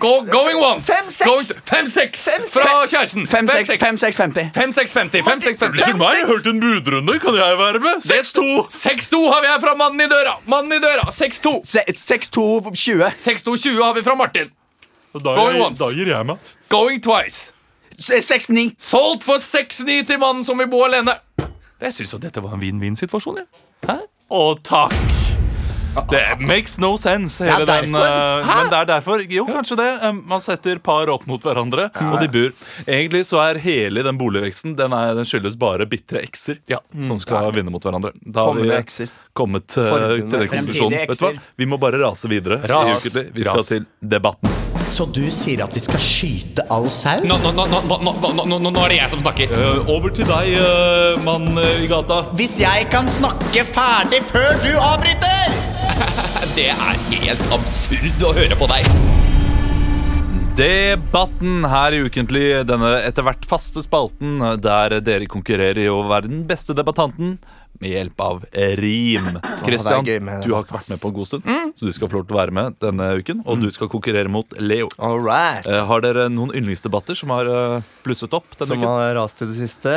Go, going once. eh? Fem, seks. Going t- Fem, seks Fem, fra seks. kjæresten. 5-6-50. Fem, seks, femti. Fem, seks, femti. Fem, seks. en budrunde. Kan jeg være med? Seks, to. Seks, to har vi her fra mannen i døra. Mannen i døra. Seks, to. 6-2-20. Seks, to, tjue har vi fra Martin. Going once. gir jeg meg. Going twice. 6-9. Solgt for seks, ni til mannen som vil bo alene. Jeg syns jo dette var en vinn-vinn-situasjon, jeg. Å, takk. Det makes no sense, hele Det er den derfor. eh, Men det er derfor. Jo, kanskje det. Um, man setter par opp mot hverandre, og de bor. Egentlig så er hele den boligveksten Den, er, den skyldes bare bitre ekser Mm. Ja, som sånn skal vinne mot hverandre. Da har Kommende vi ekser. kommet eh, Forbundne. til den konklusjonen. Fremtidige Vet du hva? ekser. Vi må bare rase videre. i Ras. ukentlig. Vi skal Ras. til debatten. Så du sier at vi skal skyte all sau? Nå, nå, nå, nå, nå, nå, nå, nå, nå er det jeg som snakker. Eh, over til deg, eh, mann i gata. Hvis jeg kan snakke ferdig før du avbryter! Det er helt absurd å høre på deg. Debatten her i Ukentlig, denne etter hvert faste spalten eh, der dere konkurrerer i å være den beste debattanten med hjelp av rim. Christian, gøy med du har ikke vært med på en god stund, så du skal få lov til å være med denne uken. Og du skal konkurrere mot Leo. All right. Eh, Har dere noen yndlingsdebatter som har eh, blusset opp denne Som uken? har rast til det siste.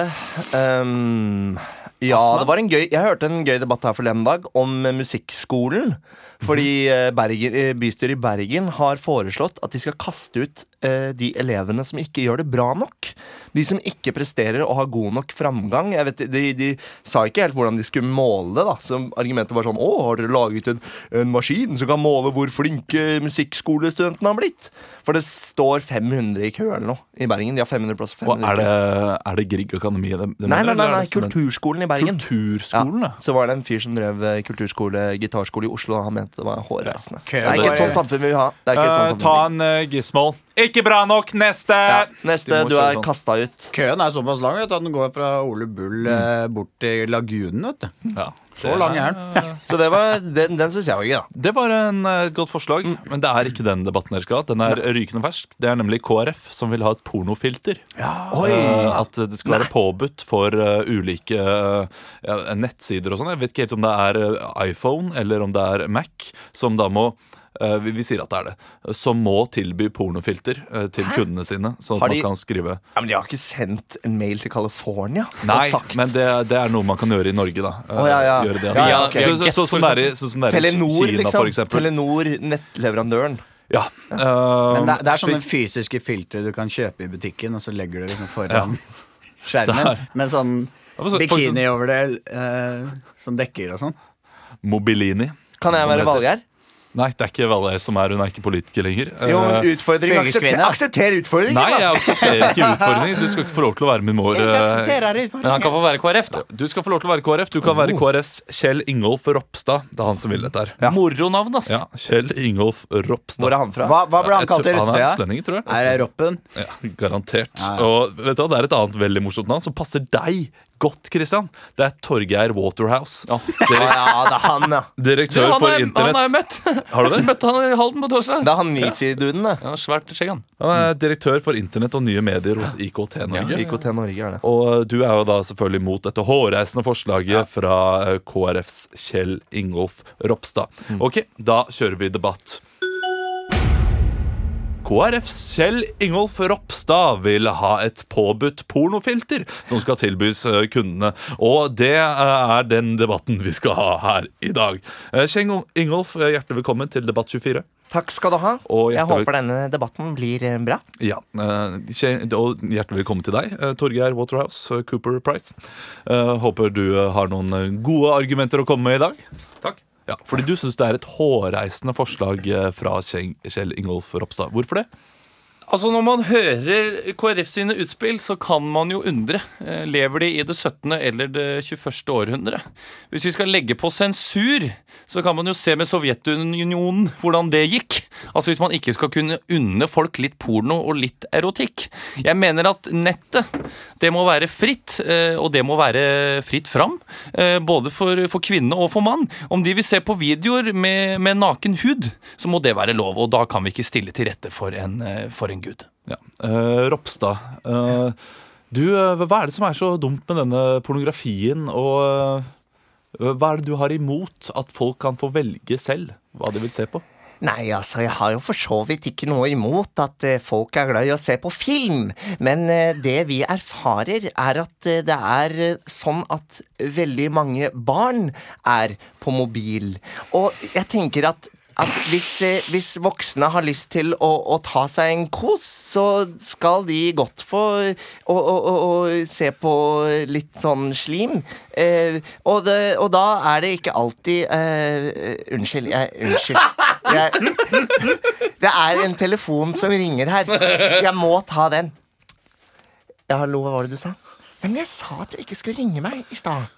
Ehm, ja, det var en gøy Jeg hørte en gøy debatt her forleden dag om eh, musikkskolen. Fordi eh, Bergen, eh, bystyret i Bergen har foreslått at de skal kaste ut eh, de elevene som ikke gjør det bra nok. De som ikke presterer og har god nok framgang. Jeg vet, de, de sa ikke helt hvordan de skulle måle det. da Så Argumentet var sånn Å, har dere laget en, en maskin som kan måle hvor flinke musikkskolestudentene har blitt? For det står 500 i kø eller noe i Bergen. De har 500 plass. Og er det, er det Grieg Akademi? Det, det Nei, nei, mener, nei, eller er nei det som en- Kulturskolen i Bergen. Kulturskolen, ja. Så var det en fyr som drev eh, kulturskole, gitarskole i Oslo, og han mente det var hårreisende. det Kø er ikke et bare- sånt samfunn vi vil ha. Det er ikke et Eh, sånt ta samfunn. en uh, gizmol. Ikke bra nok. Neste. Ja, neste. Du må Du kjøre er sånn. kasta ut. Køen er såpass lang vet du, at den går fra Ole Mm. Bull eh, bort til Lagunen. vet du Så lang er den. Så det var, den, den syns jeg var gøy, da. Det var en, eh, et godt forslag, Mm. men det er ikke den debatten dere skal ha. Den er rykende fersk. Det er nemlig KrF som vil ha et pornofilter. Eh, At det skal være påbudt for eh, ulike eh, ja, nettsider og sånn. Jeg vet ikke helt om det er eh, iPhone eller om det er Mac som da må eh, vi, vi sier at det er det. Som må tilby pornofilter eh, til kundene sine. Sånn Har at de- man kan skrive Ja, men de har ikke sendt en mail til California Nei, og sagt men det, det er noe man kan gjøre i Norge, da. Eh, Å, ja, ja. Gjøre det. Ja, ja, ok. så, så, så, sånn det er i sånn som det er i Telenor, Kina, for liksom. eksempel. Telenor, nettleverandøren. Ja. Men det, eh, er- det er sånne fysiske filtre du kan kjøpe i butikken, og så legger du liksom foran Det skjermen med sånn for så- bikini over det, eh, som dekker og sånn. Mobilini. Kan jeg Som det være heter. valgjær? Nei, det er ikke Valgerd som er. Hun er ikke politiker lenger. Jo, Eh, men utfordring aksepter, Fylkeskvinne. aksepter utfordringen, Nei, jeg da! aksepterer ikke utfordringer. Du skal ikke få lov til å være min mor. eh, Men han kan få være KrF, da. Du skal få lov til å være KrF. Du kan være KrFs Kjell Ingolf Ropstad. Det er han som vil dette her. Moronavn, ass. Ja, Kjell Ingolf Hvor Ropstad. er han fra? Hva, hva ble han Jeg kalt i tror- Han er Røstøya? østlending, tror jeg. Er det Roppen? Ja, garantert. Ja, ja. Og vet du hva, Det er et annet veldig morsomt navn som passer deg godt, Christian. Det er Torgeir Waterhouse. Å, Direk- ja, det er han, ja. direktør Han for har han har jeg Internett. møtt. Har du det? Møtte han i Halden på torsdag. Det er han Mifi-duden, det. Ja, svært skjegg, han. Han er direktør for Internett og nye medier hos IKT Norge. IKT Norge er det. Og du er jo da selvfølgelig mot dette hårreisende forslaget fra eh, KrFs Kjell Ingolf Ropstad. Ok, da kjører vi debatt. KrFs Kjell Ingolf Ropstad vil ha et påbudt pornofilter som skal tilbys eh, kundene. Og det eh, er den debatten vi skal ha her i dag. Eh, Kjell Ingolf, eh, hjertelig velkommen til Debatt 24. Takk skal du ha. Og Jeg hjertelig, håper denne debatten blir eh, bra. ja, eh, Kjell- og hjertelig velkommen til deg, eh, Torgeir Waterhouse, eh, Cooper Price. Eh, håper du eh, har noen eh, gode argumenter å komme med i dag. Takk. Ja, fordi du syns det er et hårreisende forslag eh, fra Kjell Kjell Ingolf Ropstad. Hvorfor det? Altså Når man hører KrF sine utspill, så kan man jo undre. Eh, Lever de i det 17. eller det 21. århundre? Hvis vi skal legge på sensur, så kan man jo se med Sovjetunionen hvordan det gikk. Altså Hvis man ikke skal kunne unne folk litt porno og litt erotikk. Jeg mener at nettet, det må være fritt, eh, og det må være fritt fram. eh, Både for, for kvinne og for mann. Om de vil se på videoer med, med naken hud, så må det være lov. Og da kan vi ikke stille til rette for en, eh, for en gud. Ja. eh, Ropstad, eh, du, eh, hva er det som er så dumt med denne pornografien? Og eh, hva er det du har imot at folk kan få velge selv hva de vil se på? Nei, altså, jeg har jo for så vidt ikke noe imot at eh, folk er glad i å se på film, men eh, det vi erfarer, er at eh, det er eh, sånn at veldig mange barn er på mobil. Og jeg tenker at at hvis, eh, hvis voksne har lyst til å, å ta seg en kos, så skal de godt få eh, å, å, å, å se på litt sånn slim. Eh, og, det, og da er det ikke alltid eh, eh, Unnskyld. Jeg, unnskyld. Jeg, det er en telefon som ringer her. Jeg må ta den. Ja, hallo, hva var det du sa? Ja, Men jeg sa at du ikke skulle ringe meg i stad.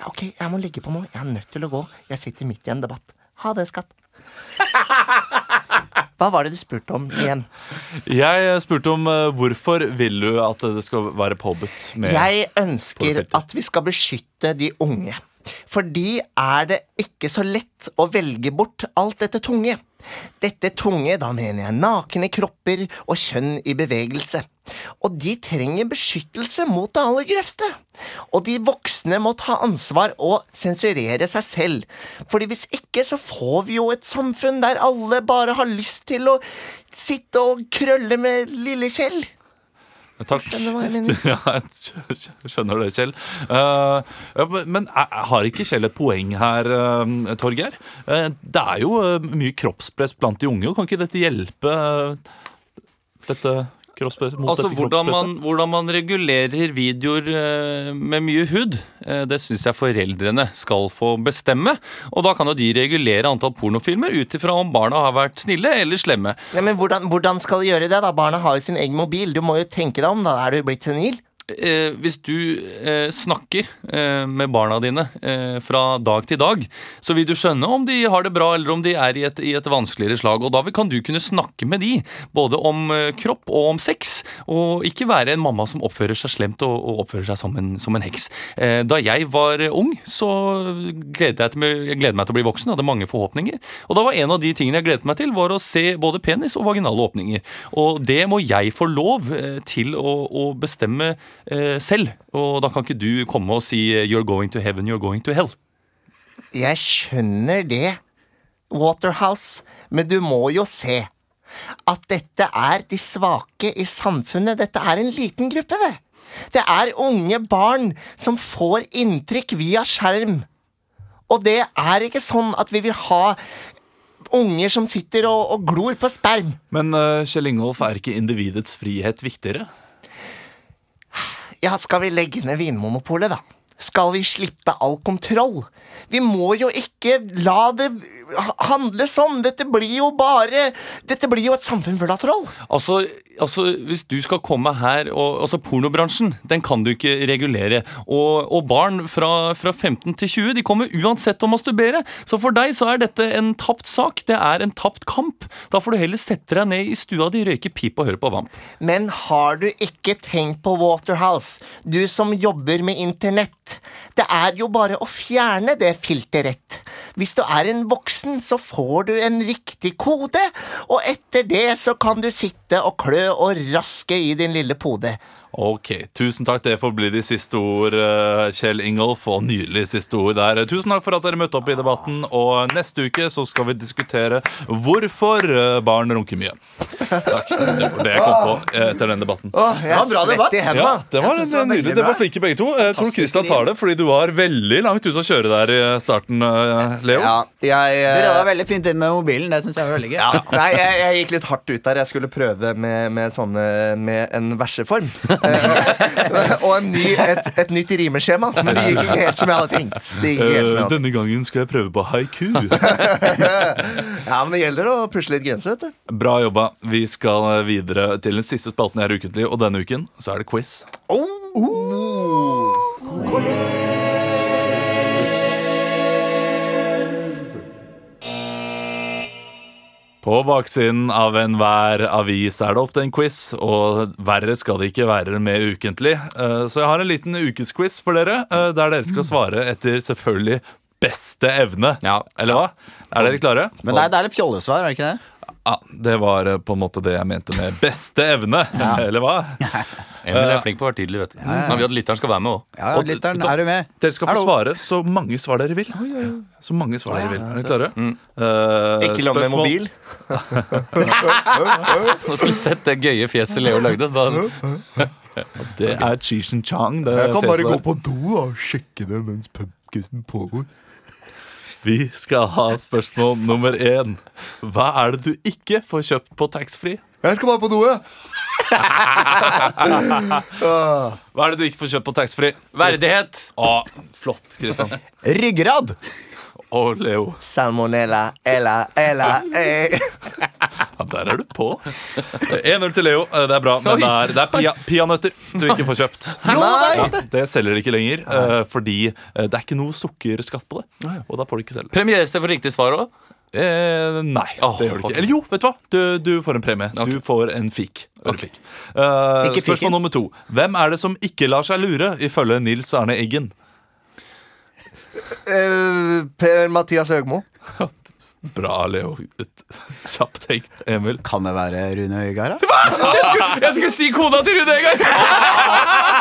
Ja, ok, jeg må legge på nå. Jeg er nødt til å gå. Jeg sitter midt i en debatt. Ha det, skatt. Hva var det du spurte om igjen? Jeg spurte om eh, hvorfor vil du at det skal være påbudt med Jeg ønsker Pornofeltet. at vi skal beskytte de unge. For de er det ikke så lett å velge bort alt dette tunge. Dette tunge, da mener jeg nakne kropper og kjønn i bevegelse. Og de trenger beskyttelse mot det aller grøvste. Og de voksne må ta ansvar og sensurere seg selv. Fordi hvis ikke så får vi jo et samfunn der alle bare har lyst til å sitte og krølle med lille Kjell. Takk. Skjønner du hva jeg mener? Ja, jeg skjø- skjø- skjønner det, Kjell. Eh, ja, men- men er- har ikke Kjell et poeng her, eh, Torgeir? Eh, det er jo eh, mye kroppspress blant de unge, og kan ikke dette hjelpe eh, dette kroppspress, mot Altså dette hvordan man, kroppspresset? hvordan man regulerer videoer eh, med mye hud, eh, det syns jeg foreldrene skal få bestemme. Og da kan jo de regulere antall pornofilmer ut ifra om barna har vært snille eller slemme. Nei, men hvordan, hvordan skal du gjøre det? da? Barna har jo sin egen mobil. Du må jo tenke deg om. da Er du blitt senil? eh, hvis du eh, snakker eh, med barna dine eh, fra dag til dag, så vil du skjønne om de har det bra eller om de er i et, i et vanskeligere slag. Og da vil- kan du kunne snakke med de, både om eh, kropp og om sex, og ikke være en mamma som oppfører seg slemt og, og oppfører seg som en, som en heks. Eh, da jeg var eh, ung, så gledet jeg, til, jeg gledet meg til å bli voksen, hadde mange forhåpninger. Og da var en av de tingene jeg gledet meg til, var å se både penis og vaginale åpninger. Og det må jeg få lov eh, til å, å bestemme eh, selv. Og da kan ikke du komme og si eh, 'you're going to heaven, you're going to hell'. Jeg skjønner det, Waterhouse, men du må jo se at dette er de svake i samfunnet. Dette er en liten gruppe, det. Det er unge barn som får inntrykk via skjerm. Og det er ikke sånn at vi vil ha unger som sitter og, og glor på sperm. Men eh, Kjell Ingolf, er ikke individets frihet viktigere? Ja, skal vi legge ned vinmonopolet, da? Skal vi slippe all kontroll? Vi må jo ikke la det ha- handle sånn! Dette blir jo bare Dette blir jo et samfunn full av troll! Altså, altså, hvis du skal komme her og, altså Pornobransjen den kan du ikke regulere. Og, og barn fra, fra 15 til 20 de kommer uansett å masturbere. Så for deg så er dette en tapt sak. Det er en tapt kamp. Da får du heller sette deg ned i stua di, røyke pip og høre på Vamp. Men har du ikke tenkt på Waterhouse, du som jobber med internett? Det er jo bare å fjerne det filteret. Hvis du er en voksen, så får du en riktig kode, og etter det så kan du sitte og klø og raske i din lille pode. Ok, tusen takk. Det får bli de siste ord, eh, Kjell Ingolf. Og nydelig siste ord der. Tusen takk for at dere møtte opp i debatten. Og neste uke så skal vi diskutere hvorfor eh, barn runker mye. Takk. Det var det jeg kom på eh, etter den debatten. Åh, jeg er svett i hendene. Ja, det var, eh, Jeg synes det var nydelig. veldig Det var bra. flinke begge to. Jeg tror Christian tar det, fordi du var veldig langt ute å kjøre der i starten, eh, Leo. Ja, jeg eh, Dere var veldig fint inn med mobilen. Det syns jeg var veldig gøy. ja. Nei, jeg, jeg gikk litt hardt ut der. Jeg skulle prøve med, med, sånne, med en verseform. Eh, og en ny, et, et nytt rimeskjema. Men det gikk ikke helt som jeg hadde tenkt. Det gikk ikke helt som jeg Eh, hadde. Denne gangen skal jeg prøve på haiku. tenkt. Ja, Men det gjelder å pusle litt grenser, vet du. Bra jobba. Vi skal eh, videre til den siste spalten her ukentlig, og denne uken så er det quiz. Oh. På baksiden av enhver avis er det ofte en quiz, og verre skal det ikke være med ukentlig. Eh, Så jeg har en liten ukesquiz for dere, eh, der dere skal svare etter selvfølgelig beste evne. Ja. Eller hva? Er dere klare? Men det er, det er litt fjollesvar, er det ikke det? Ja, det var eh, på en måte det jeg mente med beste evne. Eller hva? Eh, Emil er flink på å være tydelig, vet du. Men vi at lytteren skal være med òg. Ja, Og lytteren, da- er du med? Dere skal få Hallo. svare så mange svar dere vil. Så mange svar dere vil. Er dere klare? Mm. Eh, Ikke la med spørsmål- mobil. Nå skulle du sett det gøye fjeset Leo lagde. Da, Det er Cheeshen Chang. Det fjeset der. på do og sjekke det mens pubquizen pågår. Vi skal ha spørsmål nummer én. Hva er det du ikke får kjøpt på taxfree? Jeg skal bare på do, jeg. Hva er det du ikke får kjøpt på taxfree? verdighet! Å, flott, Kristian. Ryggrad! Og Leo. Salmonella, ella, ella, eh. Ja, der er du på. 1-0 til Leo. Eh, Det er bra, men det er, det er pia, peanøtter du ikke får kjøpt. Ja, det selger de ikke lenger, eh, fordi eh, det er ikke noe sukkerskatt på Ah, det. Og da får de ikke selge. Premieres det for riktig svar òg? Eh, nei, Åh, det gjør det ok. ikke. Eller jo, vet du hva? Du, du får en premie. Du får en fikk. Ørefik. Eh, Ikke fiken. spørsmål nummer to. Hvem er det som ikke lar seg lure, ifølge Nils Arne Eggen? Eh, Per Mathias Høgmo. Bra, Leo. Kjapt tenkt, Emil. Kan det være Rune Øygard, da? Jeg skulle si kona til Rune Egar!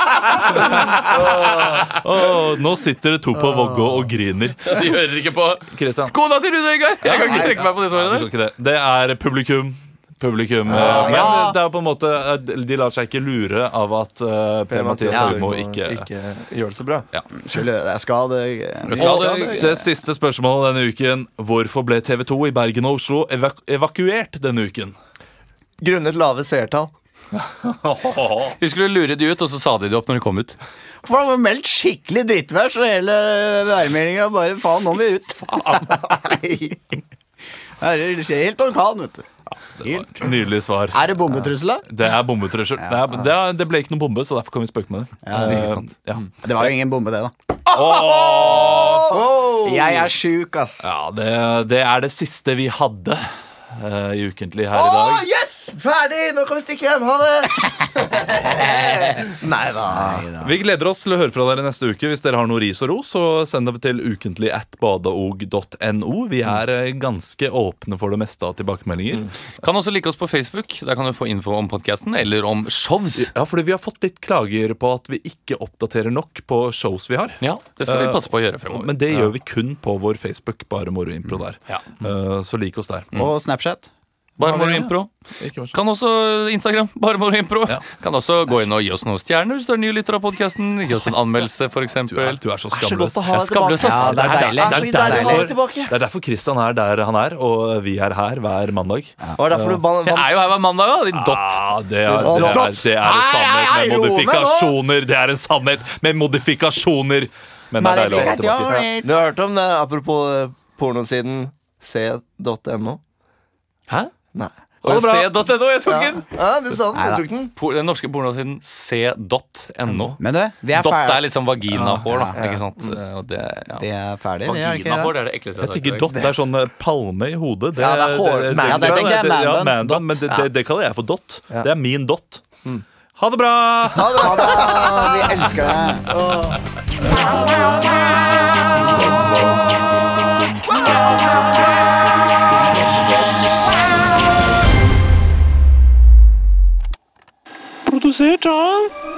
Åh, nå sitter det to på Vågå og griner. De hører ikke på. Kristian, du Kona til Rune Egar! Jeg kan ikke trekke meg på det svaret kan der. ikke det. Det er publikum. Publikum. eh, men det er jo på en måte eh, De lar seg ikke lure av at eh, Per-Mathias Høgmo ikke, gjør det så bra. Skyld, jeg skal det jeg Og skal det, det siste spørsmålet denne uken. Hvorfor ble TV 2 i Bergen og Oslo evak evakuert denne uken? Grunnet lave seertall. Vi skulle lure de ut, og så sa de det opp når de kom ut. For det var meldt skikkelig drittvær, så hele værmeldinga bare faen, nå må vi ut. Nei. Her er det helt orkan, vet du. Nydelig svar. Er det bombetrussel, da? Det er bombetrussel. Det, er, det, er, det ble ikke noen bombe, så derfor kan vi spøke med det. ja, Eh, ja. Det var jo ingen bombe, det, da. Jeg er sjuk, ass. Ja, det, det er det siste vi hadde eh, i Ukentlig her i dag. yes! Ferdig! Nå kan vi stikke hjem. Ha det! Nei da. Vi gleder oss til å høre fra dere neste uke. Hvis dere har noe ris og ros, så send det til ukentlig at badeog.no. Vi er eh, ganske åpne for det meste av tilbakemeldinger. Mm. Kan også like oss på Facebook. Der kan du få info om podkasten eller om shows. Ja, fordi vi har fått litt klager på at vi ikke oppdaterer nok på shows vi har. Ja, Det skal vi Eh, passe på å gjøre fremover. Men det gjør vi kun på vår Facebook, bare moro impro der. Ja. Eh, Så lik oss Mm. der. Og Snapchat. Bare Moro Impro. Kan også Instagram. Bare Moro Impro. Kan også gå inn og gi oss noen stjerner hvis du er ny lytter av podkasten. Gi oss en anmeldelse, f.eks. Du er, du er så så skamløs. godt å ha Jeg er deg tilbake. skamløs, ass. Ja, det er deilig. der- Det er så deilig å ha deg derfor- tilbake. det er derfor Christian er der han er, og vi er her hver mandag. Det var derfor du ban- Jeg ban- er jo her hver mandag, da, din dott. Ah, det, er, Og det, er, dott. det er en Hei, hei, hei, sannhet med ro ned nå. modifikasjoner. Det er en sannhet med modifikasjoner. Men det er deilig å ha deg tilbake. Du har hørt om det? Apropos eh, pornosiden c.no. Hæ? Nei. Og bra. c.no. Jeg tok Ja. den. ja, du sa den. Du tok den. Po- Den norske pornosiden c.no. Men du, vi er Dott er ferdig. liksom vaginahår, da. Ja, ja, ja. Ikke sant? Eh, Og det, ja. Vi er ferdig, vi er ikke Vaginahår det? det er det ekleste Jeg har tenker hørt i dag. dott er sånn eh, palme i hodet. Ja, det er hår- man Ja, det tenker jeg, det- man ja, bun, man dott. bun, Men det, Ja. det, det kaller jeg for dott. Ja. Det er min dott. Ha det bra! Ha det. Ha det. Vi elsker deg. Produsert av